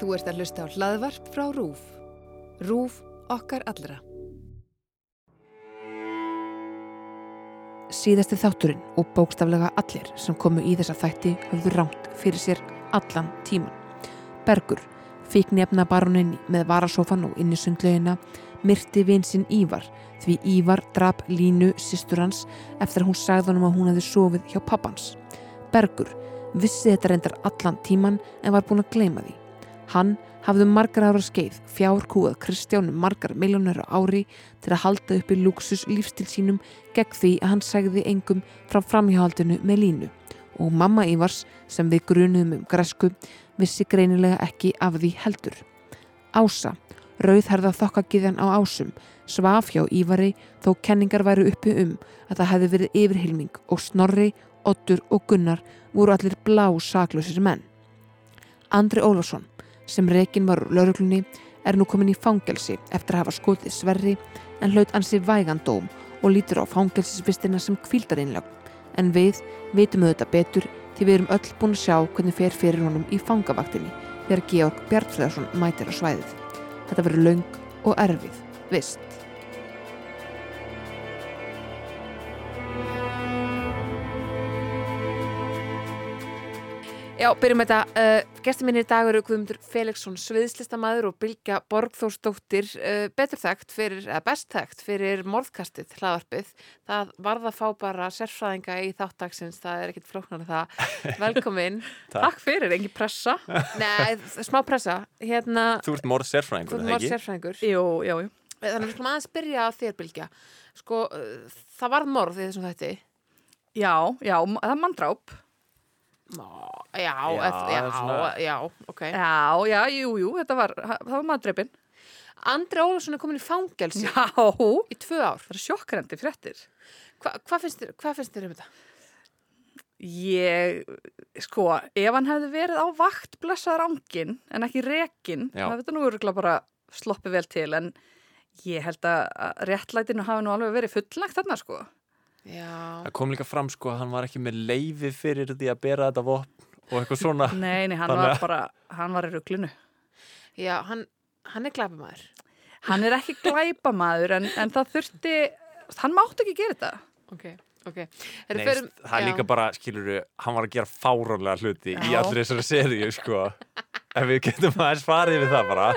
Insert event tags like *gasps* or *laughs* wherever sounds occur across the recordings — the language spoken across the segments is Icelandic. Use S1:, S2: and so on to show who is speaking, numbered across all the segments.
S1: Þú ert að hlusta á hlaðvarp frá RÚF. RÚF okkar allra.
S2: síðasti þátturinn og bókstaflega allir sem komu í þessa þætti höfðu rámt fyrir sér allan tíman. Bergur, fík nefna baroninn með varasofan og inn í sundlaugina, myrti vinsinn Ívar því Ívar drap Línu systur hans eftir að hún sagði honum að hún hefði sofið hjá pappans. Bergur vissi þetta reyndar allan tíman en var búin að gleyma því. Hann hafði um margar ára skeið fjárkúað Kristjánu margar miljónur á ári til að halda upp í luxus lífstil sínum gegn því að hann segði engum frá framhjáhaldinu með línu og mamma Ívars sem við grunuðum um græsku vissi greinilega ekki af því heldur. Ása, rauðherða þokkagiðjan á ásum, svaf hjá Ívari þó kenningar væru uppi um að það hefði verið yfirhylming og snorri, ottur og gunnar voru allir blá saklausir menn. Andri Ólafsson, sem rekin var úr lauruglunni, er nú komin í fangelsi eftir að hafa skotið sverri en hlaut ansi vægan dóm og lítur á fangelsisvistina sem kvíldarinnlag en við vitum auðvitað betur því við erum öll búin að sjá hvernig fer fyrir honum í fangavaktinni þegar Georg Bjartfræðarsson mætir á svæðið. Þetta verður löng og erfið, vist. Já, byrjum með þetta. Uh, Gestur minni í dag eru Guðmundur Felixson, sviðslistamæður og Bilgja Borgþórsdóttir, uh, betur þekkt fyrir, eða best þekkt fyrir morðkastið, hlaðarpið. Það varð að fá bara sérfræðinga í þáttaksins, það er ekkit flóknar en það. Velkomin.
S3: Takk.
S2: fyrir, engin pressa. Nei, smá pressa. Hérna,
S3: Þú ert morð
S2: þú
S3: sérfræðingur,
S2: erum
S3: eða
S2: morð
S3: ekki?
S2: sérfræðingur.
S4: Jú, jú, jú.
S2: Þannig við skulum aðeins byrja á þér, Bilgja. Sko, uh, það varð morð í þessum þætti.
S4: Já, já, m- það er manndráp.
S2: Má, já, já,
S3: það
S2: já,
S3: er svona-
S2: já, ok.
S4: Já, já, jú, jú, þetta var, ha- það var manndreipin.
S2: Andri Ólafsson er komin í fangelsi
S4: Já, það
S2: í tvö ár.
S4: er sjokkrendi fréttir.
S2: Hva, hvað finnst þér, hvað finnst þér um þetta?
S4: Ég, sko, ef hann hefði verið á vakt blessaður ángin en ekki rekin,
S3: Já.
S4: það þetta nú örgulega bara sloppið vel til, en ég held að að réttlætinu hafi nú alveg verið fullnægt þarna, sko.
S2: Já,
S3: Það kom líka fram sko að hann var ekki með leifi fyrir því að bera þetta vopn og eitthvað svona.
S4: Nei, nei, hann
S3: Þannig
S4: var
S3: að-
S4: bara, hann var í ruglunu.
S2: já hann, hann er glæpamaður.
S4: Hann er ekki glæpamaður, en, en það þurfti, hann mátti ekki gera þetta.
S2: Ok, ok. Heyrðu,
S3: Nei,
S2: förum-
S3: það er
S2: já.
S3: líka bara, skilur hann var að gera fáránlega hluti í
S4: Já.
S3: allri þessari seríu sko. Ef við getum aðeins farið við það bara.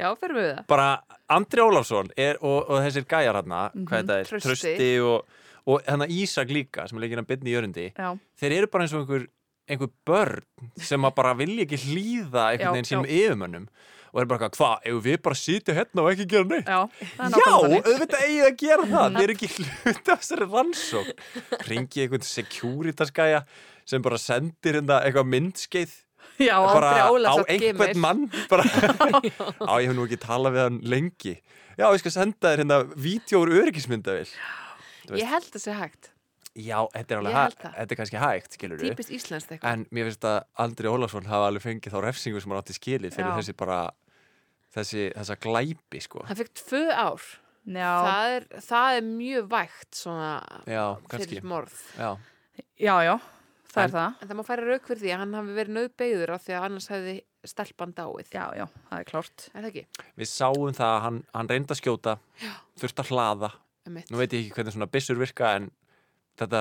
S2: Já, fyrir við það.
S3: Bara Andri Ólafsson er, og, og þessir gæjar hann, hvað þetta er,
S2: Trausti.
S3: og, og hann Ísak líka, sem er leikinn að byrni í örundi.
S4: Já.
S3: Þeir eru bara eins og einhver, einhver börn sem að bara vilja ekki hlýða
S4: Já,
S3: einhvern veginn
S4: já.
S3: sínum yfirmönnum og er bara eitthvað, hvað, ef við bara sitja hérna og ekki gera neitt?
S4: Já, það er
S3: Já,
S4: nákvæmlega þannig.
S3: auðvitað eigið að gera það Þið eru ekki hluti af þessari rannsókn Ringi einhvern securitasgæja sem bara sendir hérna eitthvað myndskeið
S4: Já,
S3: bara
S4: Andri
S3: á
S4: Ólafsson
S3: einhvern
S4: gemir.
S3: mann
S4: *laughs*
S3: bara, Á, ég hef nú ekki talað við hann lengi Já, ég skal senda þér hérna vídeo úr öryggismyndavill veist-
S2: Ég held það sé hægt.
S3: Já, þetta
S2: Ég
S3: er alveg
S2: held
S3: hæ-
S2: það.
S3: þetta er kannski hægt, skilur við
S2: Típist íslenskt eitthvað.
S3: En mér finnst að Andri Ólafsson hafa alveg fengið þá refsingu sem hann átti skilið fyrir
S4: Já.
S3: þessi bara þessi, þessa glæpi, sko
S2: Hann fekk tvö ár.
S4: Já,
S2: Það er, það er mjög vægt svona
S3: Já, kannski,
S2: fyrir morð.
S3: já
S4: já, já, það
S3: En-
S4: er það.
S2: En það má færa rauk fyrir því að hann hafi verið nöðbeigður af því að annars hefði stelpan dáið.
S4: Já, já, það er klárt.
S2: Er það ekki?
S3: Við sáum það að hann, hann reyndi að skjóta, þurfti að hlaða.
S2: Einmitt.
S3: Nú veit ég ekki hvernig svona byssur virka en þetta,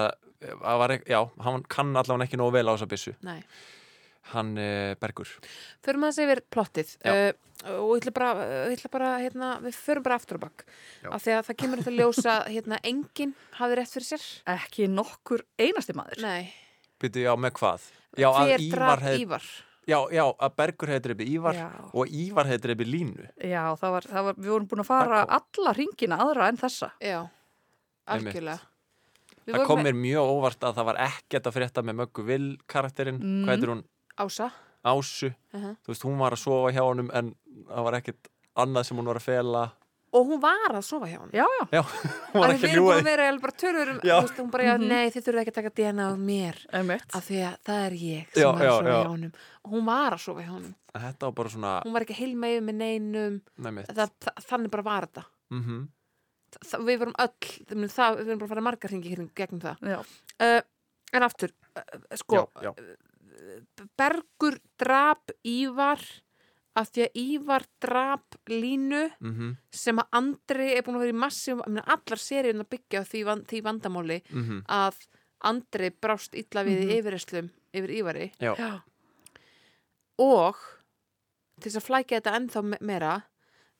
S3: það var, ek- já, hann kann allavega ekki nógu vel á þessa byssu.
S2: Nei.
S3: Hann eh, bergur.
S2: Förum að segja yfir plottið
S3: Já.
S2: uh, og ég ætla bara, ég ætla bara hérna, við förum bara aftur á bakk af því að það kemur þetta ljósa hérna, enginn hafði rétt fyrir sér
S4: Ekki nokkur einasti maður.
S2: Nei,
S3: Byrju, já, með hvað? Já, að
S2: hver draf
S3: hef-
S2: Ívar
S3: Já, já, að bergur hefði dreipið Ívar
S4: Já.
S3: og Ívar hefði dreipið Línu.
S4: Já, það var, það var, við vorum búin að fara
S3: Það
S4: alla ringina aðra en þessa.
S2: Já,
S3: Einmitt.
S2: algjörlega Við
S3: það
S2: vorum
S3: kom
S2: með
S3: mér mjög óvart að það var ekkert að frétta með Möggu Vil karakterinn.
S4: Mm.
S3: Hvað heitir hún?
S2: Ása
S3: Ásu.
S2: Mhm.
S3: Þú veist, hún var að sofa hjá honum en það var ekkert annað sem hún var að fela.
S2: og hún var að sofa hjá hann
S4: Já, já,
S3: Já, hún var
S2: Við
S3: ekki að
S2: erum
S3: ljúga
S2: búin að
S3: því.
S2: vera eiginlega bara tölurum
S3: Já.
S2: veist, Hún bara, já, nei, þið þurfið ekki að taka DNA af mér
S4: einmitt.
S2: af því að það er ég sem
S3: Já,
S2: var að
S3: já,
S2: sofa
S3: já.
S2: hjá honum og hún var að sofa hjá honum
S3: Þetta var bara svona,
S2: Hún var ekki heilmegið með neinum Mm.
S3: nefnitt.
S2: það, það, Þannig bara var þetta
S3: Mm
S2: það, við vorum öll, það, mun- það, við vorum bara að fara margar hringi hérna gegnum það.
S4: Já,
S2: Uh, en aftur,
S3: eh,
S2: uh, sko,
S3: já.
S2: Bergur drap Ívar af því að Ívar drap línu
S3: mm -hmm,
S2: sem að Andri er búin að vera í massi allar seríun að byggja á því, van, því vandamáli
S3: mm -hmm.
S2: að Andri brást illa við
S4: Mhm.
S2: í yfirreslum yfir Ívari
S3: Já,
S4: Já.
S2: og til þess að flækja þetta ennþá me- meira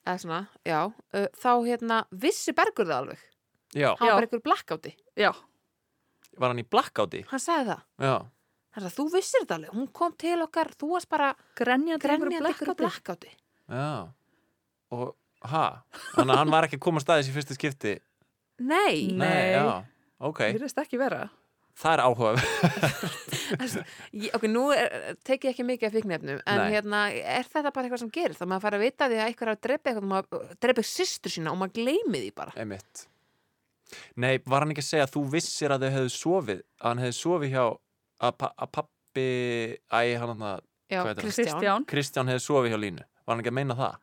S2: eða svona, já, uh, þá hérna vissi Bergur það alveg
S3: já,
S2: hann
S4: Já.
S2: var bara einhver blackáti,
S4: Já.
S3: var hann í blackouti?
S2: hann sagði það
S3: Já,
S2: hann sagði þú vissir þetta alveg, hún kom til okkar þú varst bara
S4: Grenjandi einhverju
S2: grenjandi einhver
S4: blackouti.
S2: blackáti
S3: já Og, ha, þannig að hann var ekki að koma staðis í fyrsta skipti
S2: nei,
S4: Nei.
S3: já, ok
S4: Mér veist ekki vera.
S3: Það er áhuga
S2: Ég, ok, nú er, tek ég ekki mikið af fíknefnum en
S3: Nei.
S2: hérna, er þetta bara eitthvað sem gerir þá maður fara að vita af því að eitthvað er að drepa eitthvað maður drepa sýstur sína og maður gleymi því bara
S3: Einmitt. Nei, var hann ekki að segja að þú vissir að þau hefðu sofið að hann hefði sofið hjá að, pa- að pappi æ, hann hann að
S2: já,
S3: Hvað heitir hann?
S2: Kristján.
S4: Kristján. Mm,
S3: Kristján hefði sofið hjá Línu var hann ekki að meina það?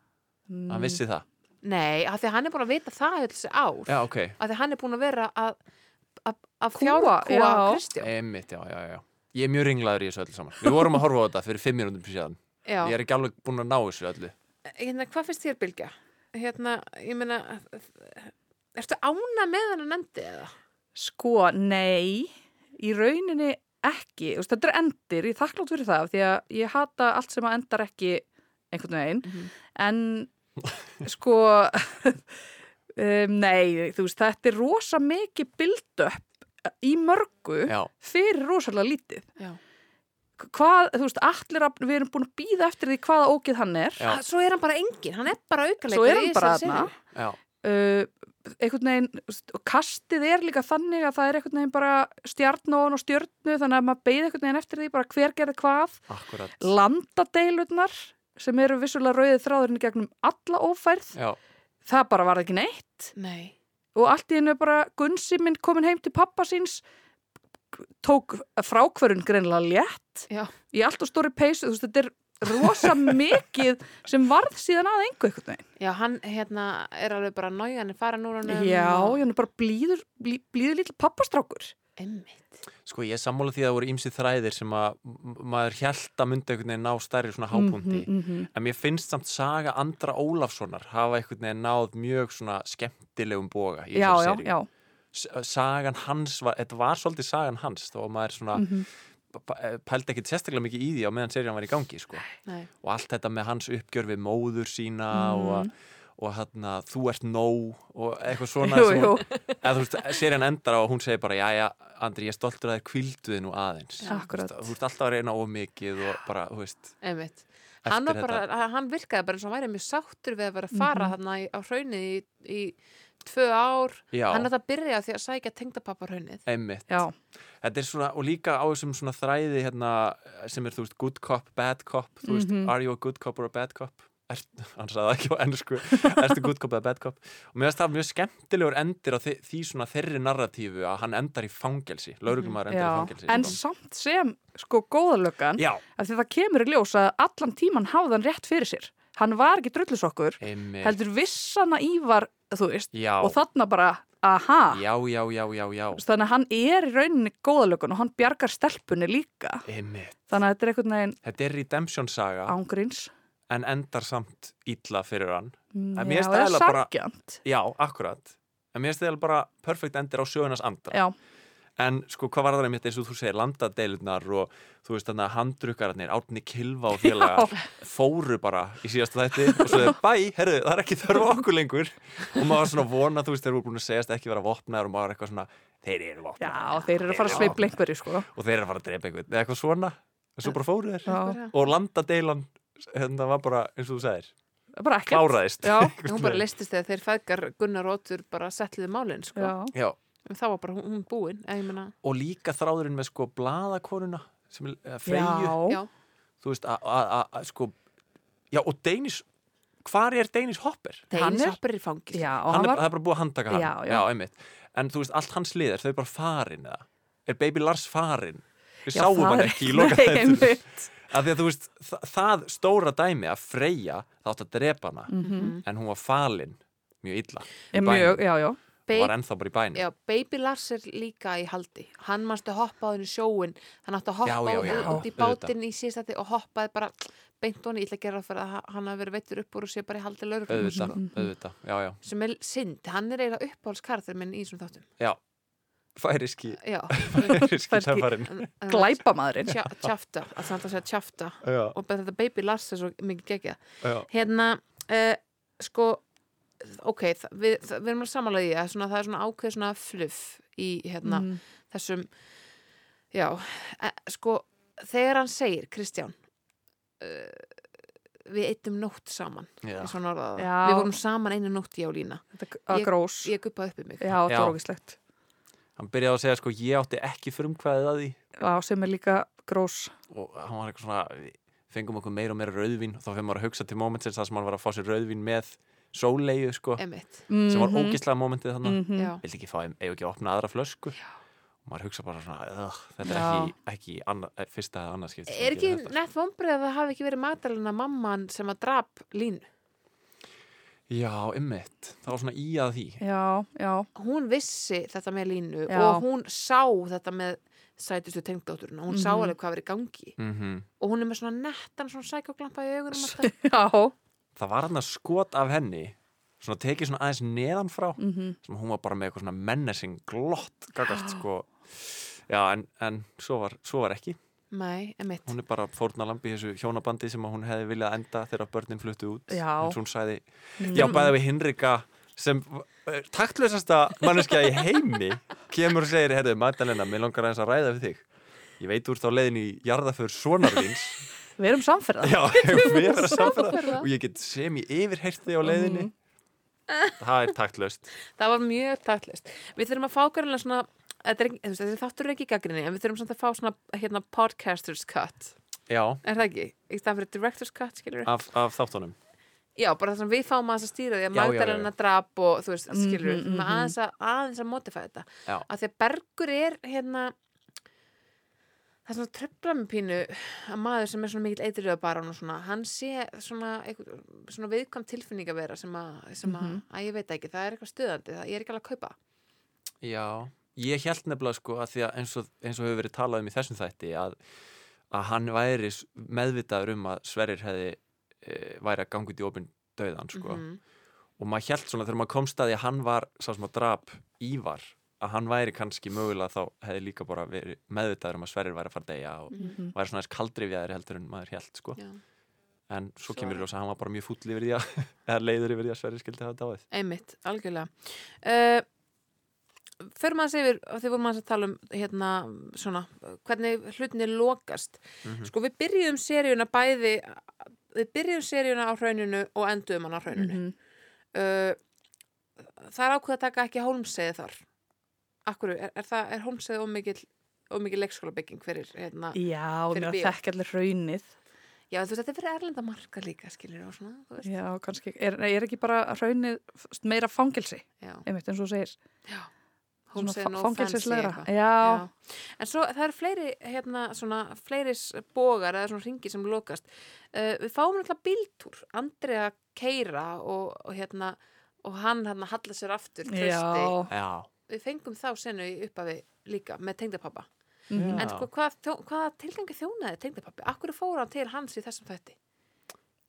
S2: Mm.
S3: Hann vissi það?
S2: nei, af því að hann er búin að vita það öll þessi ár
S3: Já, ok,
S2: af því að hann er búin að vera að að- að
S4: Kúga,
S2: fjárkúa
S4: já.
S2: Kristján
S3: einmitt, já, já, já Ég er mjög ringlaður í þessu öllu saman Við vorum að horfa á þetta fyrir fimm minútum síðan
S2: já.
S3: Ég er ekki alveg búin að ná þessu öllu
S2: hérna, hvað finnst þér Bilgja? hérna, ég meina ertu ána með hann að nendi eða?
S4: Sko, nei, í rauninni ekki. Þú veist, Þetta er endir, ég er þakklátt fyrir það af því að ég hata allt sem að endar ekki einhvern veginn.
S2: Mhm.
S3: *laughs*
S4: En sko, um, nei, þú veist, þetta er rosa mikið build-up í mörgu
S3: Já,
S4: fyrir rosalega lítið.
S2: Já.
S4: Hvað, þú veist, allir að, við erum búin að býða eftir því hvaða ógið hann er.
S3: Já.
S2: Að- Ah, svo er hann bara engin, hann er bara aukalega
S4: Svo er hann bara þarna.
S3: já,
S4: uh, einhvern veginn, st- og kastið er líka þannig að það er einhvern veginn bara stjarnón og stjörnu þannig að maður beið einhvern veginn eftir því bara hver gerði hvað
S3: akkurat
S4: landadeilurnar sem eru vissulega rauðið þráðurinn í gegnum alla ófærð
S3: Já,
S4: það bara var ekki neitt
S2: nei,
S4: og allt í hennu bara Gunsi minn komin heim til pappa síns tók frákvörun greinlega létt
S2: Já.
S4: í allt og stóri peysu þú veist þetta er rosa mikið sem varð síðan að engu einhvern veginn
S2: já, hann hérna er alveg bara nája, hann er farin úr hann
S4: já, hérna bara blíður, blí, blíður lítið pappastrákur
S2: einmitt,
S3: sko ég er sammála því að það voru ímsi þræðir sem að m- maður hjælt að myndi einhvern veginn ná stærri svona hápundi
S4: -hmm.
S3: En mér finnst samt saga Andra Ólafssonar hafa einhvern veginn náð mjög svona skemmtilegum boga í
S4: já, já,
S3: þessari seríu.
S4: já,
S3: S- Sagan hans var, þetta var svolítið sagan hans þó að maður svona mm
S4: Mhm.
S3: pældi ekkit sérstaklega mikið í því á meðan serían var í gangi sko.
S2: nei
S3: og allt þetta með hans uppgjör við móður sína
S4: Mhm.
S3: og, og hann að þú ert nóg og eitthvað svona
S4: jú,
S3: sem
S4: jú,
S3: hún, eða, þú veist, serían endar á að hún segir bara jæja Andri ég er stoltur að þér kvilduði nú aðeins
S4: Akkúrat.
S3: Þú veist, þú ert alltaf að reyna ómikið og bara, þú veist,
S2: Einmitt. Hann, var
S3: eftir
S2: bara, að- hann virkaði bara eins og hann væri mjög sáttur við að vera að fara
S4: Mhm.
S2: mm á hraunið í, í tvö ár.
S3: Já.
S2: Hann er að byrja á því að sækja tengdapappa hraunið.
S3: einmitt
S4: já,
S3: Þetta er svona, og líka á þessum svona þræði hérna, sem er, þú veist, good cop, bad cop, þú veist,
S4: Mhm.
S3: are you a good cop or a bad cop? Er, hann sagði það ekki á ennsku, *laughs* ertu good cop eða bad cop? Og mér finnst það mjög skemmtilegur endir á því, því svona þeirri narratífu að hann endar í fangelsi, lauruglumar endar í
S4: Mhm. já.
S3: fangelsi.
S4: en
S3: sko.
S4: samt sem sko góðalöggan,
S3: Já,
S4: af því það kemur í ljós að allan tíman hafði hann rétt fyrir sér hann var ekki drullusokkur,
S3: einmitt.
S4: heldur vissana ívar, þú veist
S3: Já,
S4: og þarna bara, aha
S3: já, já, já, já, já,
S4: Þú veist, þannig að hann er í rauninni góðalöggan og hann bjargar stelpunni líka
S3: einmitt.
S4: þannig að þetta er einhvern veginn
S3: Þetta er redemption saga,
S4: ángríns
S3: en endar samt illa fyrir hann. En mér
S4: já,
S3: finnst það
S4: eða
S3: eiginlega bara-
S4: sargjant
S3: Já, akkurat. En mér finnst það bara perfect endir á sjöunars andra.
S4: já,
S3: En sko, hvað var það einmitt eins og þú segir landadeilurnar og þú veist þannig að handrukkararnir, átni kilva og félaga fóru bara í síðasta þætti og svo
S4: *laughs*
S3: þeir bæ, herru, það er ekki þörf á okkur lengur og maður var svona að vona, þú veist, þeir voru búin að segjast ekki vera vopnaður og maður var eitthvað svona, þeir eru
S4: já,
S3: vopnaður
S4: þeir eru
S3: Þeir
S4: að fara að
S3: eru
S4: sveipla einhverju sko
S3: og þeir eru að fara að drepa einhvern, eða eitthvað svona og svo bara fóru þeir
S4: já,
S3: og landadeilan, hérna var bara, eins og þú segir,
S4: bara ekkert
S3: kláraðist *laughs*
S4: já,
S2: Hún bara listist þegar þeir fæðgar Gunnar Rótur bara settliði málinn, sko.
S4: já,
S3: Já,
S2: En þá var bara hún, hún búin, eða ég meina,
S3: og líka þráðurinn með sko blaðakonuna, sem er eða freyju
S4: já.
S2: já,
S3: þú veist, að- að að- að, sko já, og Deinis hvar er Deinis Hopper?
S4: Hann
S2: Deinis
S4: er-
S2: hoppar í fangil.
S4: Já, og
S3: Hann er,
S4: hann
S3: það
S4: var,
S3: er bara búið að handtaka hann
S4: Já, já.
S3: einmitt. en þú veist, allt hans liðar, þau er bara farin eða? er Baby Lars farin? við
S4: Já,
S3: sáum
S4: það
S3: hann
S4: er-
S3: ekki í
S4: *laughs* Nei,
S3: loka þetta
S4: einmitt.
S3: af því að þú veist, það, það stóra dæmi að Freyja þátt að drepa hana en hún var falin mjög illa í
S4: Ég
S3: bænum.
S4: Mhm. mjög, já, já,
S3: og
S2: Babe-
S3: var ennþá bara í bænum
S2: Já, Baby Lars er líka í haldi Hann mannstu hoppa á henni sjóin Hann átti að hoppa
S3: Já,
S2: á
S3: já, já,
S2: henni út í
S3: auðvitað.
S2: bátinn í síðstætti og hoppaði bara beint á henni, ég ætla að gera það fyrir að hann hafi verið veittur upp úr og sé bara í haldi lögreglum
S3: auðvitað,
S2: sko.
S4: Mhm.
S3: auðvitað, já, já,
S2: sem er synd, hann er eiginlega uppáhaldskarður minn í þessum þáttum
S3: færiski
S2: Já,
S4: *laughs*
S3: *laughs* færiski
S4: Færiski.
S3: tafarinn
S2: Mm.
S4: Glæpamaðurinn.
S2: Tja- Tjafta, að það er alltaf að segja tjafta
S3: já,
S2: og bara þetta Baby Lars er svo mikið gegja
S3: já,
S2: Hérna, uh, sko ok, þa- við, þa- við erum alveg samanlega í því að svona, það er svona ákveð svona fluff í hérna
S4: Mm.
S2: þessum já, e, sko þegar hann segir, Kristján uh, við eittum nótt saman
S3: já.
S2: eins og hann orðaði
S4: Já.
S2: það, við vorum saman einu nótt ég og Lína,
S4: Þetta var grós.
S2: ég guppaði upp í mig
S4: Já, þetta
S3: Já.
S4: var ógislegt.
S3: hann byrjaði að segja sko ég átti ekki frumkvæðið að því
S4: Já, sem er líka grós.
S3: og hann var eitthvað svona við fengum okkur meira og meira rauðvín og þá fyrir maður að hugsa til momentsins þar sem hann var að fá sér rauðvín með sóleiðu sko
S2: emitt,
S3: sem var ógislega momentið þannig
S4: Mhm.
S2: já,
S3: vildi ekki fá, eigum ekki að opna aðra flösku já. og maður hugsa bara svona "Ugh, þetta er
S4: Já.
S3: ekki, ekki anna, eh, fyrsta eða annað skipti sem
S2: er
S3: ég
S2: ekki
S3: geri þetta,
S2: nett vombrið að það hafi ekki verið matalina mamman sem að drap Línu,
S3: sko. já, ymmit, það var svona í að því
S4: Já, já. *laughs*
S2: hún vissi þetta með Línu
S4: Já.
S2: og hún sá þetta með sætustu tengdótturinn hún sá
S4: Mhm.
S2: alveg hvað verið í gangi
S3: mm
S2: og hún er með svona nettan svona sækjoglampa í augunum alltaf.
S4: Já.
S3: það var hann að skot af henni svona tekið svona aðeins neðan frá
S4: Mhm.
S3: sem hún var bara með eitthvað svona mennesing glott gagast sko já, en, en svo, var, svo var ekki
S2: nei, emitt
S3: hún er bara fórnalambi í þessu hjónabandi sem að hún hefði viljað enda þegar börnin fluttu út
S4: Já. Mhm.
S3: en svo hún sagði, já bæða við Hinrika sem eh, taktlösasta manneskja í heimi kemur og segir, herðu Magdalena, mér langar aðeins að ræða við þig ég veit úr þá leiðin í jarðaför svonarðins
S4: Við erum samferðað.
S3: já, við erum samferða og ég get sem ég yfirheyrt þig á leiðinni það er taktlöst
S2: Það var mjög taktlist. Við þurfum að fá gærilega svona, þetta er, ekki- þú veist, þetta er þáttur er ekki í gaggrinni, en við þurfum samt að fá svona hérna, podcasters cut.
S3: já,
S2: Er það ekki? Í staðan fyrir directors cut, skilur við?
S3: af, af þáttunum
S2: Já, bara það sem við fáum aðeins að stýra því að
S3: Já, já, já, já.
S2: magdalennar drap og þú veist, skilur við,
S4: Mhm,
S2: mm
S4: mhm.
S2: aðeins, að, aðeins að modify þetta.
S3: Já.
S2: Af því að Bergur er hérna, það er svona tröfla með pínu að maður sem er svona mikill eitriða barón og svona, hann sé svona, einhver, svona viðkvam tilfinning að vera sem að, sem að,
S4: Mhm.
S2: að ég veit það ekki, það er eitthvað stöðandi, það, ég er ekki alveg að kaupa.
S3: Já, ég held nefnilega sko að því að eins og, eins og hefur verið talað um í þessum þætti að, að hann væri s- meðvitaður um að Sverrir hefði e, væri að ganga út í opinn döðan sko
S2: Mhm.
S3: og maður held svona þegar maður komst að því að hann var sá sem að drap Ívar að hann væri kannski mögulega þá hefði líka bara verið meðvitaður um að Sverrir væri að fara að deyja og
S4: Mhm.
S3: væri svona eins kaldrifjaður heldur en maður held sko
S2: Já.
S3: en svo
S2: Svo
S3: kemur
S2: er-
S3: í ljós að hann var bara mjög fúll yfir því að *laughs* eða leiður yfir því að Sverrir skildi hafa dáið
S2: Einmitt, algjörlega. Uh, Förum aðeins yfir, af því vorum aðeins að tala um hérna, svona, hvernig hlutinni lokast.
S3: Mhm.
S2: Sko, við byrjuðum seríuna bæði, við byrjuðum seríuna á hrauninu og enduðum hann á hrauninu.
S4: Mhm.
S2: uh, það er ákveð að taka ekki hólmseði þar. Akkur, er, er, það- er hólmseði ómikið, ómikið leikskóla bygging fyrir, hérna,
S4: Já,
S2: Fyrir
S4: mér
S2: bíó.
S4: þekk allir hraunið.
S2: já, þú veist, þetta er fyrir erlenda marka líka, skilur og svona, þú veist.
S4: Já, kannski. Er, nei, er ekki bara hraunið f- meira fangelsi,
S2: Já,
S4: einmitt eins og þú segir. Svona
S2: Homestead
S4: fa-
S2: no
S4: fangelsislegra.
S2: fancy eitthvað.
S4: Já,
S2: Já. En svo það eru fleiri, hérna, svona, fleiri bógar eða svona ringi sem lokast. Uh, við fáum náttúrulega bíltúr, Andri að keira og, og hérna, og hann hérna hallar sér aftur, trösti.
S4: já.
S3: Já,
S2: Við fengum þá senu í upphafi líka með tengdapappa.
S4: Mhm.
S2: En sko, hvað, þjó, hvað tilgangi þjónaði tengdapappi? Akkur fór hann til hans í þessum þætti?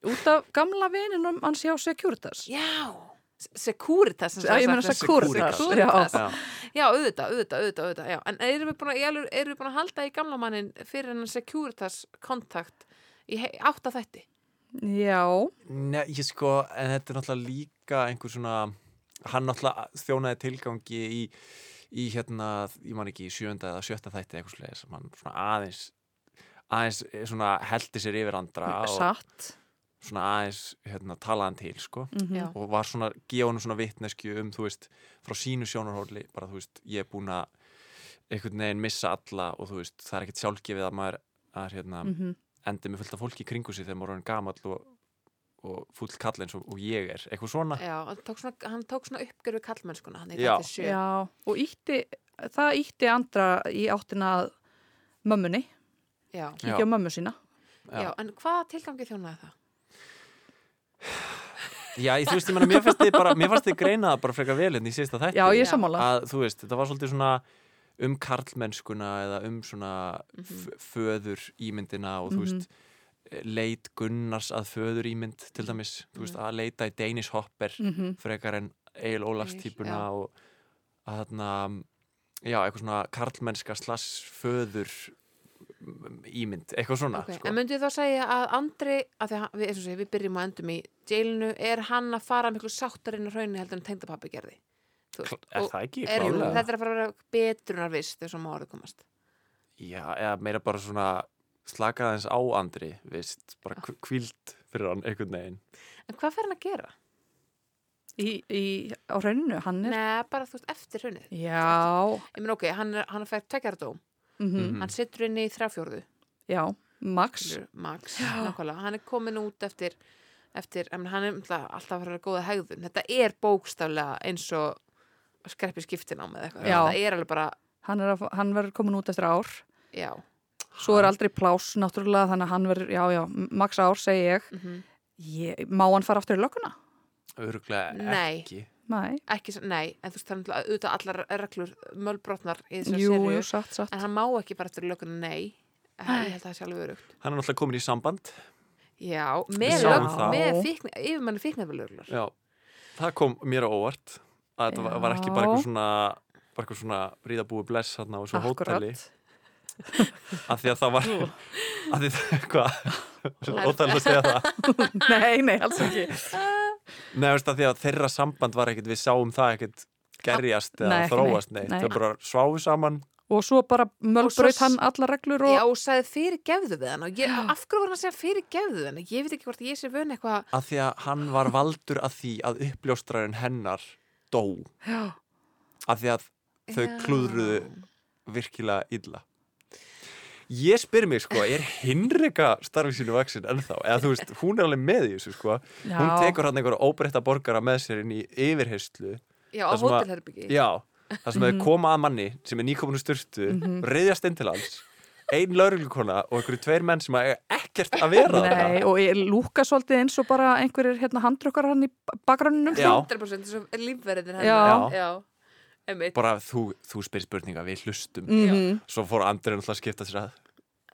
S4: Út af gamla vininum hans hjá Securitas.
S2: Já! Sekúritas
S4: Já, ég meina Securitas.
S2: Securitas.
S3: já,
S2: Já, auðvitað, auðvitað, auðvitað, auðvitað, já. En erum við búin að, í alvöru- erum við búin að halda í gamla mannin fyrir hennan Securitas kontakt í he- átta þætti?
S4: Já,
S3: Nei, ég sko, en þetta er náttúrulega líka einhver svona, hann náttúrulega þjónaði tilgangi í, í hérna, ég man ekki, í sjönda eða sjötta þætti eitthvað slegið sem hann svona aðeins, aðeins eh, svona heldi sér yfir andra og
S4: satt.
S3: svona aðeins hérna talaðan til, sko
S4: Mhm.
S2: Já.
S3: og var svona, gefa honum svona vitnesku um, þú veist, frá sínu sjónarhóli bara, þú veist, ég er búin að einhvern veginn missa alla og þú veist, það er ekkert sjálfgefið að maður að hérna,
S4: Mhm.
S3: endi með fullt af fólki í kringu sig þegar maður er orðinn gamall og, og full kall eins og, og ég er eitthvað svona
S2: Já, hann tók svona, hann tók svona uppgjör við kallmennskuna, hann
S3: Ah. Já.
S2: eitthvað sjö.
S4: Já, og ítti, það ítti andra í áttina að mömmunni,
S2: Já.
S3: Já.
S4: kíkja á mömmu sína.
S2: Já, en hvað tilgangi þjónaði það?
S3: Já, ég- þú veist, ég meina, mér fannst þið bara, mér fannst þið greina það bara frekar vel hérna í síðasta þætti.
S4: Já,
S1: Já.
S4: ég er sammála.
S3: Að, þú veist, þetta var svolítið svona um karlmennskuna eða um svona mm
S2: Mhm.
S3: föður ímyndina og þú veist, leit Gunnars að föður ímynd
S2: Mhm.
S3: til dæmis, þú veist, að leita í Danish Hopper
S4: Mm
S3: frekar en Egil Ólafs
S1: Egil,
S3: típuna
S1: já.
S3: og að þarna, já, eitthvað svona karlmennska slass föður mm, ímynd, eitthvað svona,
S2: Ok,
S3: sko.
S2: En myndið þið þá segja að Andri, að því að hann- við, eins og segja, við byrjum að endum í jailinu, er hann að fara miklu sáttar inn á hraunni heldur en tengdapappi gerði? Þú veist,
S3: Er
S2: og
S3: það ekki?
S2: er,
S3: Klárlega.
S2: þetta er að fara að vera betrunarvist þegar svo má orðið komast.
S3: Já, eða meira bara svona slakaði hans á andri, veist,
S2: Ah.
S3: bara kvíld fyrir hann einhvern veginn.
S2: En hvað fer hann að gera?
S4: í, í, á rauninu, hann er
S2: Nei, bara þú veist, eftir hraunni.
S4: já,
S2: Ég menn ok, hann, er, hann fær tvekjaradóm,
S4: mm
S3: Mhm.
S2: hann situr inn í þrjáfjórðu,
S4: já, Max
S2: skilur, max, nákvæmlega, hann er komin út eftir, eftir ég meina, hann er náttúrulega alltaf að fara að góða hegðun. Þetta er bókstaflega eins og skreppi skiptin á með eitthvað.
S4: Já.
S2: Það er alveg bara,
S4: hann, er að fá- hann verður komin út eftir ár
S2: já.
S4: svo er aldrei pláss náttúrulega þannig að hann verður, já, já, Max ár segi ég,
S2: Mm
S4: ég má hann fara aftur í lögguna?
S3: Öruglega
S2: Nei.
S3: ekki.
S4: Nei,
S2: ekki, s- nei, en þú veist, það er náttúrulega auðvitað allar reglur mölbrotnar í þessari
S4: jú,
S2: serju,
S4: jú, satt, satt
S2: en hann má ekki bara eftir löguna nei, Eh, ég held að það sé alveg örugt.
S3: Hann er náttúrulega komin í samband.
S2: Já, með,
S3: sáum
S2: lög,
S3: það.
S2: með fíkn, yfirmanni fíknafélöglunar.
S3: Já, það kom mér á óvart. Að þetta var- var ekki bara
S4: Já.
S3: eitthvað svona, bara eitthvað svona ríðabúi bless hann á þessu hóteli. *laughs*
S4: Akkúrat.
S3: Af því að það var, af því það, hvað? Ótæðilega að segja það.
S4: Nei, nei, alls ekki
S3: Nei, veist, af því að þeirra samband var ekkit, við sáum það ekkit gerjast eða
S4: Nei, ekki
S3: þróast, nei.
S4: neitt, nei.
S3: Þau bara sváu saman.
S4: Og svo bara
S2: Og
S4: mölbraut
S2: svo-
S4: hann alla reglur og
S2: Já, og sagði fyrir gefðu við hann og ég, af hverju var hann að segja fyrir gefðu hann? Ég veit ekki hvort ég sé vön eitthvað,
S3: Af því að hann var valdur að því að uppljóstrarinn hennar dó.
S4: Já,
S3: af því að þau
S2: Já.
S3: klúðruðu virkilega illa ég spyr mig sko er Hinrika starfi sínu vaksin ennþá eða þú veist, hún er alveg með í þessu sko
S4: já.
S3: hún tekur hann einhverja óbreytta borgara með sér inn í yfirheyslu
S2: já, á
S3: Það sem að-
S2: hótelherbyggi.
S3: já, það sem
S4: Mhm.
S3: þau koma að manni sem er nýkominu styrtu, mm -hmm. reyðjast inn til hans ein lauruglukona og einhverju tveir menn sem eiga ekkert að vera þarna.
S4: Nei, og ég lúka svolítið eins og bara einhverjir hérna handrukkar hann í bakgrunninum
S3: Já.
S2: 100% eins og lífverðin hennar.
S4: Já.
S2: já. Einmitt.
S3: bara þú, þú spyr spurninga, við hlustum
S4: Mhm.
S3: svo fór Andrið náttúrulega að skipta sér að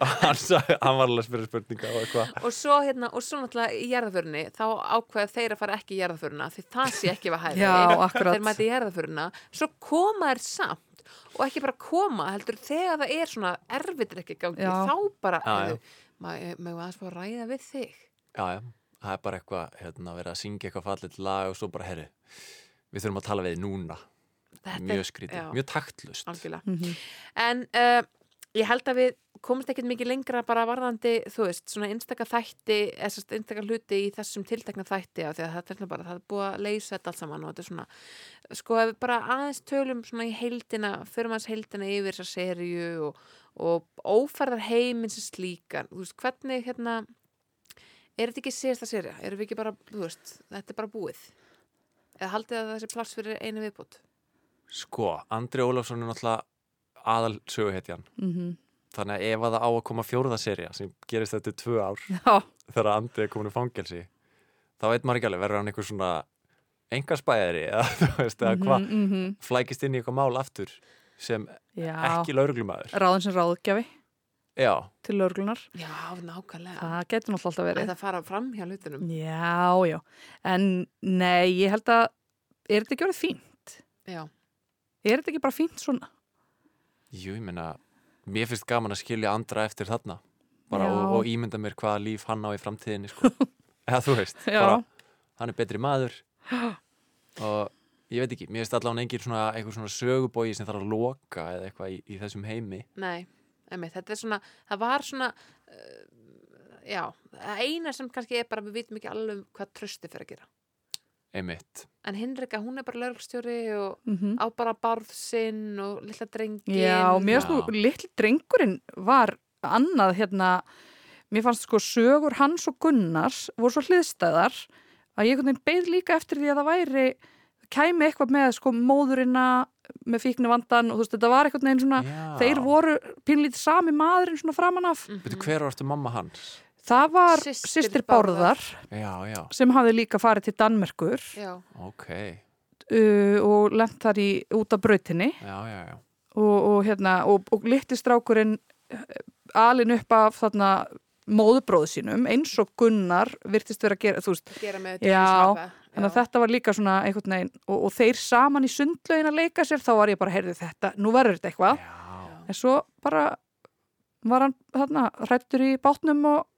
S3: *laughs* hann, sagði, hann var alveg að spyrja spurninga og eitthvað
S2: Og svo, hérna, og svo náttúrulega í jarðaförunni, þá ákveða þeir að fara ekki í jarðaföruna, því það sé ekki við hæði.
S4: *laughs* Já, akkurat.
S2: Þeir mæti í jarðaföruna, svo koma þeir samt og ekki bara koma, heldur þegar það er svona erfitt ekki gangi,
S4: Já.
S2: þá bara,
S3: Já, já.
S2: maður aðeins fá að ræða við þig.
S3: Já, já, það er bara eitthvað, hérna, verið að syngja eitthvað fallit lag og svo bara, herri, við þurfum að tala við þig núna,
S2: Þetta
S3: mjög skrítið,
S2: já.
S3: mjög taktlust.
S2: algjörlega.
S4: Mhm.
S2: En uh, ég held að við komumst ekkert mikið lengra bara varðandi, þú veist, svona einstaka þætti, eða sérst einstaka hluti í þessum tiltakna þætti af því að þetta er hérna bara, það er búið að leysa þetta allt saman og þetta er svona, sko, ef við bara aðeins tölum svona í heildina, förum aðeins heildina yfir þessa serju og, og ófærðar heiminn sem slíkan, þú veist, hvernig hérna, er þetta ekki síðasta serja? Erum við ekki bara, þú veist, þetta er bara búið? Eða haldið að þessi pláss fyrir einu viðbútt?
S3: Sko, Andri Ólafsson er náttúrulega aðal söguhetjan,
S4: Mhm.
S3: þannig að ef að það á að koma fjórða serja sem gerist þetta í tvö ár
S4: Já,
S3: þegar Andri er komin í fangelsi, þá veit maður ekki alveg, verður hann einhver svona engarspæðari eða, *laughs* þú veist, eða hvað,
S4: mhm, mhm.
S3: flækist inn í eitthvað mál aftur sem
S4: Já.
S3: ekki lauruglumæður.
S4: ráðin sem ráðgjafi
S3: Já,
S4: til löglunar
S2: Já, nákvæmlega.
S4: það getur náttúrulega alltaf verið
S2: að það fara fram hjá hlutunum
S4: Já, já, en nei, ég held að er þetta ekki orðið fínt?
S2: já,
S4: Er þetta ekki bara fínt svona?
S3: jú, ég meina, mér finnst gaman að skilja Andra eftir þarna. bara
S4: Já.
S3: og, og ímynda mér hvaða líf hann á í framtíðinni
S4: *laughs*
S3: sko. eða þú veist
S4: Já.
S3: bara, hann er betri
S4: *gasps*
S3: maður og ég veit ekki, mér finnst allavega engin svona, einhver svona sögubói sem þarf að loka eða eitthvað í, í þessum heimi
S2: nei, emi, þetta er svona það var svona uh, já, það eina sem kannski er bara við vitum ekki alveg um hvað trösti fer að gera
S3: einmitt,
S2: en Hinrika, hún er bara lörglstjóri og
S4: Mm
S2: á bara barð sinn og lilla drengin
S4: Já, mér finnst
S3: Já.
S4: nú, litli drengurinn var annað hérna, mér fannst sko sögur hans og Gunnars voru svo hliðstæðar að ég einhvern veginn beið líka eftir því að það væri, kæmi eitthvað með sko móðurina með fíknu vandan og þú veist, þetta var einhvern veginn svona,
S3: Já.
S2: Mhm.
S4: þeir voru pínlítið sami maðurinn svona framan af.
S3: veitu hver varstu mamma hans?
S4: það var
S2: Systir
S4: sýstir
S2: Bárðar.
S4: Bárðar
S3: já, já,
S4: sem hafði líka farið til Danmerkur
S2: já,
S3: ok
S4: uh, og lent þar í, út af brautinni
S3: já, já, já,
S4: og, og, hérna, og, og litli strákurinn eh, alinn upp af þarna móðubróðu sínum eins og Gunnar virtist vera að gera þú veist,
S2: gera með
S4: Já,
S2: James Rafa.
S4: þannig að þetta var líka svona einhvern veginn og, og þeir saman í sundlaugin að leika sér þá var ég bara, heyrðu þetta, nú verður þetta eitthvað
S3: já.
S4: en svo bara var hann þarna hrættur í bátnum og *laughs*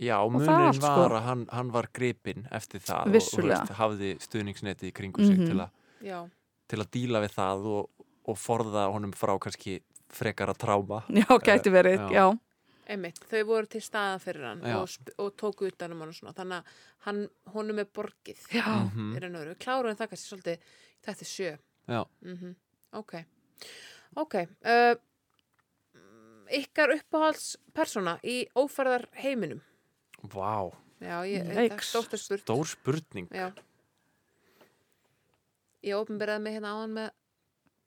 S3: Já,
S4: það
S3: munurinn
S4: allt, sko.
S3: var að hann, hann var gripinn eftir það
S4: Vissulega.
S3: og þú veist, hafði stuðningsneti í kringum sig
S4: Mhm.
S3: til, að,
S2: já,
S3: til að díla við það og, og forða honum frá kannski frekara tráma.
S4: já, gæti verið,
S3: já.
S4: Eh, já,
S2: einmitt, þau voru til staða fyrir hann
S3: Já.
S2: og, sp- og tóku utanum hann og svona þannig að hann, honum er borgið
S4: já.
S3: Mhm.
S2: er hann öðru, kláruðum það kannski svolítið þetta er sjö
S3: Já.
S2: Mhm. ok ok uh, ykkar uppáhaldspersona í ófærðar heiminum
S3: Vá,
S2: já,
S3: Mm,
S2: ég, þetta er
S4: Yikes.
S2: stórt er spurt
S3: stór spurning.
S2: Já. Ég ofnberaði mig hérna áðan með,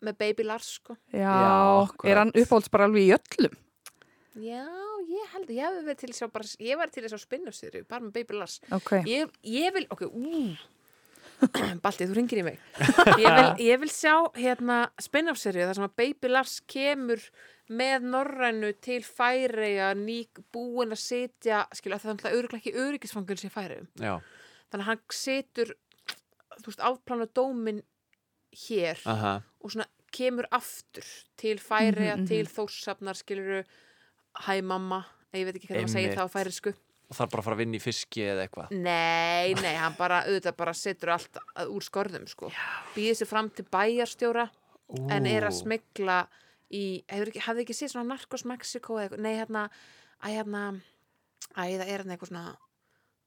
S2: með Baby Lars, sko.
S4: já,
S3: akkurat.
S4: er hann uppáhalds bara alveg í öllum
S2: Já, ég held, ég hefði verið til að sjá bara, ég var til að sjá spinnafsýri, bara með Baby Lars.
S4: ok,
S2: Ég, ég vil, ok, ú, *clears throat* Balti, þú ringir í mig. Ég vil, ég vil sjá hérna spinnafsýri, þar sem að Baby Lars kemur með norrænu til færeiga, nýk búin að sitja, skilja, það er alltaf örugglega ekki öryggisfangun sem færeiðum.
S3: Já,
S2: Þannig að hann situr, þú veist, afplána dómin hér.
S4: Ah.
S3: aha,
S2: og svona kemur aftur til færiða,
S4: Mhm, mhm.
S2: til þórssafnar skiluru, hæ mamma Nei, ég veit ekki hvernig maður segir
S3: Einmitt.
S2: það á færisku
S3: og það er bara að fara að vinna í fiski eða eitthvað.
S2: nei, nei, hann bara, auðvitað bara setur allt að, úr skorðum, sko býðir sér fram til bæjarstjóra
S3: Ú,
S2: en er að smegla í, hefur ekki, hafði ekki séð svona Narcos Mexico eða eitthvað, nei, hérna æ, hérna, æ, það er hérna eitthvað svona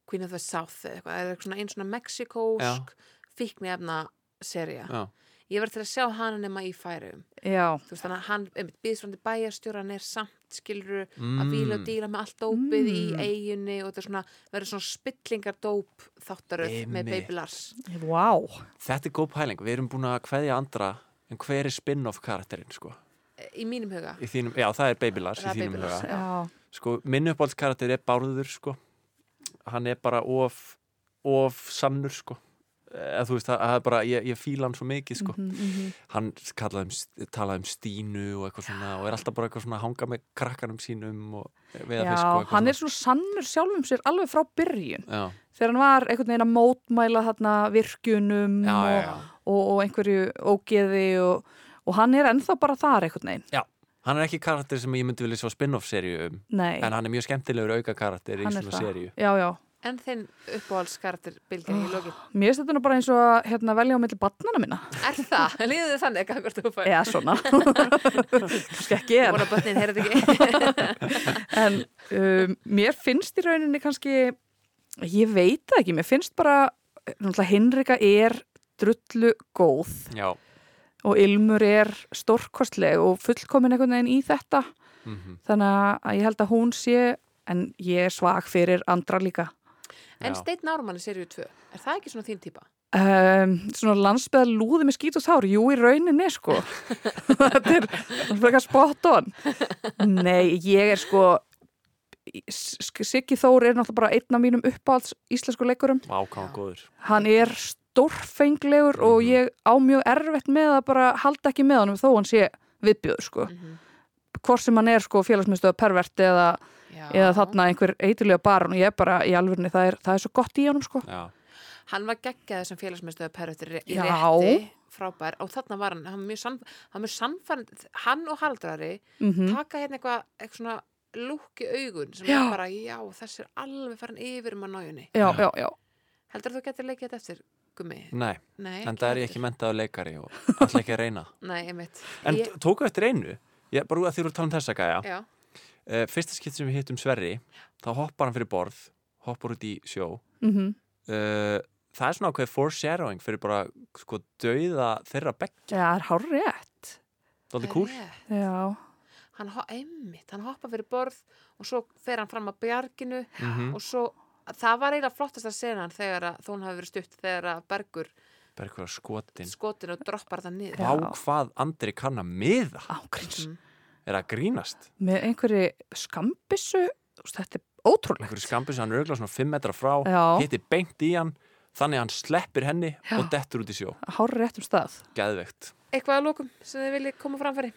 S2: Queen of the South eða eitthvað, eða eitthvað svona einn svona mexikósk fíknefna serja,
S3: Já,
S2: ég verð til að sjá hana nema í færiðum
S4: já
S2: þú veist þannig að hann einmitt, býðst fram til bæjarstjóra hann er samt skiluru að bíla og
S3: mm,
S2: díla með allt dópið í
S4: Mm.
S2: eiginni og þetta er svona, verður svona spillingardóp þáttaröð með
S3: Einmitt.
S2: Baby Lars
S4: Vá,
S3: Mm. þetta er góð pæling. Við erum búin að kveðja andra, en hver er spin-off karakterinn, sko?
S2: Eh, í mínum huga
S3: Í þínum, já, það er Baby Lars í
S2: Það er
S3: þínum
S2: Baby Lars,
S3: huga.
S2: já.
S4: já,
S3: sko, minn uppáhaldskarakter er Bárður sko. hann er bara of of sannur sko. eða þú veist, það það er bara, ég, ég fíla hann svo mikið sko.
S4: mhm, mhm.
S3: hann kallaði um, st- talaði um Stínu og eitthvað svona og er alltaf bara eitthvað svona að hanga með krakkanum sínum og veða
S4: já
S3: fisk og eitthvað
S4: hann er svona sannur sjálfum sér alveg frá byrjun
S3: svona já,
S4: þegar hann var einhvern veginn að mótmæla þarna virkjunum
S3: já, já, já.
S4: Og, og, og einhverju ógeði og, og hann er ennþá bara þar einhvern veginn
S3: hann er ekki karakter sem ég myndi vilja svo spin-off seríu um
S4: Nei,
S3: en hann er mjög skemmtilegur auka karakter í
S4: hann er
S3: svona
S4: það
S3: seríu
S4: Já, já,
S2: en þinn uppáhaldskarakter bylgja
S4: Ah.
S2: í lokin
S4: mér finnst þetta nú bara eins og að hérna, velja á milli barnana minna
S2: er það, *laughs* líður þið þannig að hvað þú fær
S4: eða svona
S3: *laughs*
S4: kannski ekki en,
S2: vona bötnin, heyrðu þetta
S4: *laughs*
S2: ekki
S4: en um, mér finnst í rauninni kannski ég veit það ekki, mér finnst bara eh, náttúrulega Hinrika er drullu góð
S3: já,
S4: og Ilmur er stórkostleg og fullkomin einhvern veginn í þetta
S3: mm
S4: þannig að ég held að hún sé en ég er svag fyrir andra líka
S2: en
S3: Já.
S2: Steinn Ármann í seríu 2, er það ekki svona þín típa?
S4: um, svona landsbyðar lúði með skýt og þár jú í rauninni sko *laughs* þetta er frekar spot on nei, ég er sko Siggi Þór er náttúrulega bara einn af mínum uppáhalds íslensku leikurum
S3: ákáðan góður
S4: hann er stórfenglegur og
S3: Mhm.
S4: ég á mjög erfitt með að bara halda ekki með honum þó hann sé viðbjöður sko
S2: Mm
S4: hvort sem hann er sko félagsmyndstöða pervert eða, eða þarna einhver eiturlega barn og ég bara í alvörni það er, það er svo gott í honum sko
S3: já,
S2: hann var geggjaði sem félagsmyndstöða perröttir í
S4: Já.
S2: rétti, frábær og þarna var hann, hann var mjög, sann, hann var mjög sannfærand hann og Haldrari
S4: mm
S2: taka hérna eitthvað eitthvað svona lúk í augun sem
S4: Já.
S2: er bara, já, þessi er alveg farin yfir um að nájunni.
S4: já, já, já,
S2: Heldur þú getur leikið þetta eftir, Gummi?
S3: nei,
S2: Nei,
S3: en það er ég ekki mentaður leikari og alltaf ekki að
S4: *laughs*
S3: reyna
S2: heldur. Nei, einmitt.
S3: En
S2: ég,
S3: tóku eftir einu, ég, bara úr að þið eru að tala um þessa gæja,
S2: já,
S3: uh, fyrsta skipt sem við hittum Sverri, þá hoppar hann fyrir borð, hoppar út í sjó.
S4: mm
S3: Uh, það er svona ákveð foreshadowing fyrir bara sko dauða þeirra bekk,
S4: já, það er hár rétt
S3: það er kúl.
S2: rétt.
S4: já,
S2: Hann, ho- einmitt, hann hoppa fyrir borð og svo fer hann fram að bjarginu
S3: Mm -hmm.
S2: og svo, það var eiginlega flottasta senan þegar að, þó hún hafi verið stutt þegar að Bergur
S3: Bara eitthvað skotin.
S2: skotin og droppar það niður.
S4: Já.
S3: Vá hvað Andri kann að miða,
S4: ágríns
S2: Mm.
S3: er að grínast.
S4: með einhverju skambissu þú veist, þetta er ótrúlegt
S3: einhverju skambis hann er örgulega svona 5 metra frá
S4: Já.
S3: hitti beint í hann þannig að hann sleppir henni og dettur út í sjó
S4: hár rétt um stað
S3: geðveikt
S2: eitthvað að lókum sem þið viljið koma á framfæri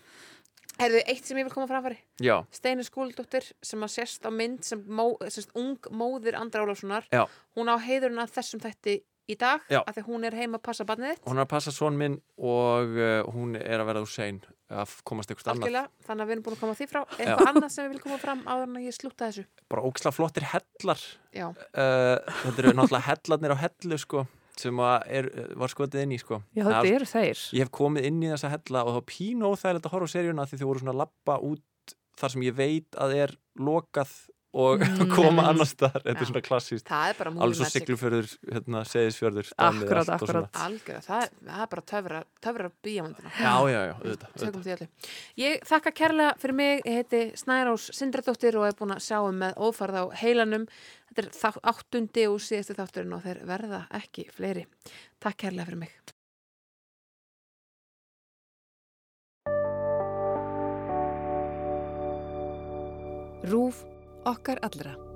S2: Herðu, eitt sem ég vil koma á framfæri
S3: já,
S2: Steini Skúldóttir sem að sérst á mynd sem, mó, sem sagt, ung móðir Andra Ólafssonar
S3: Já.
S2: hún á heiðurinn að þessum þætti í dag
S3: Já.
S2: af því að hún er heima að passa barnið þitt
S3: hún er að passa svon minn og uh, hún er að verða úr sein að komast eitthvað annað
S2: algjörlega, þannig að við erum búin að koma því frá eitthvað annað sem við viljum koma fram áður en að ég slúta þessu
S3: bara óksla flottir hellar
S2: Já,
S3: uh, þetta eru náttúrulega hellarnir á hellu sko sem að er, var skotið inn í sko
S4: já
S3: Það-
S4: þetta eru þeir
S3: Ég hef komið inn í þessa hella og þá pínu óþægilegt að horfa á seríuna af því þau voru svona að lappa út þar sem ég veit að er lokað og
S4: Mm.
S3: *laughs* koma annars þar. Þetta
S2: Já.
S3: er svona klassíst.
S2: það er bara
S3: Alveg
S2: movie
S3: svo
S2: magic
S3: siglufjörður, hérna, seðisfjörður.
S4: Akkúrat, akkúrat.
S2: Algjörlega, það, er- það er bara töfra, töfra bíamöndina
S3: Já, já, já, auðvitað. auðvitað.
S2: Tökum því öllu. Ég þakka kærlega fyrir mig, ég heiti Snærós Sindradóttir og er búin að sjá um með ófærð á heilanum. Þetta er þá- áttundi og síðasti þátturinn og þeir verða ekki fleiri. Takk kærlega fyrir mig.
S5: RÚF okkar allra.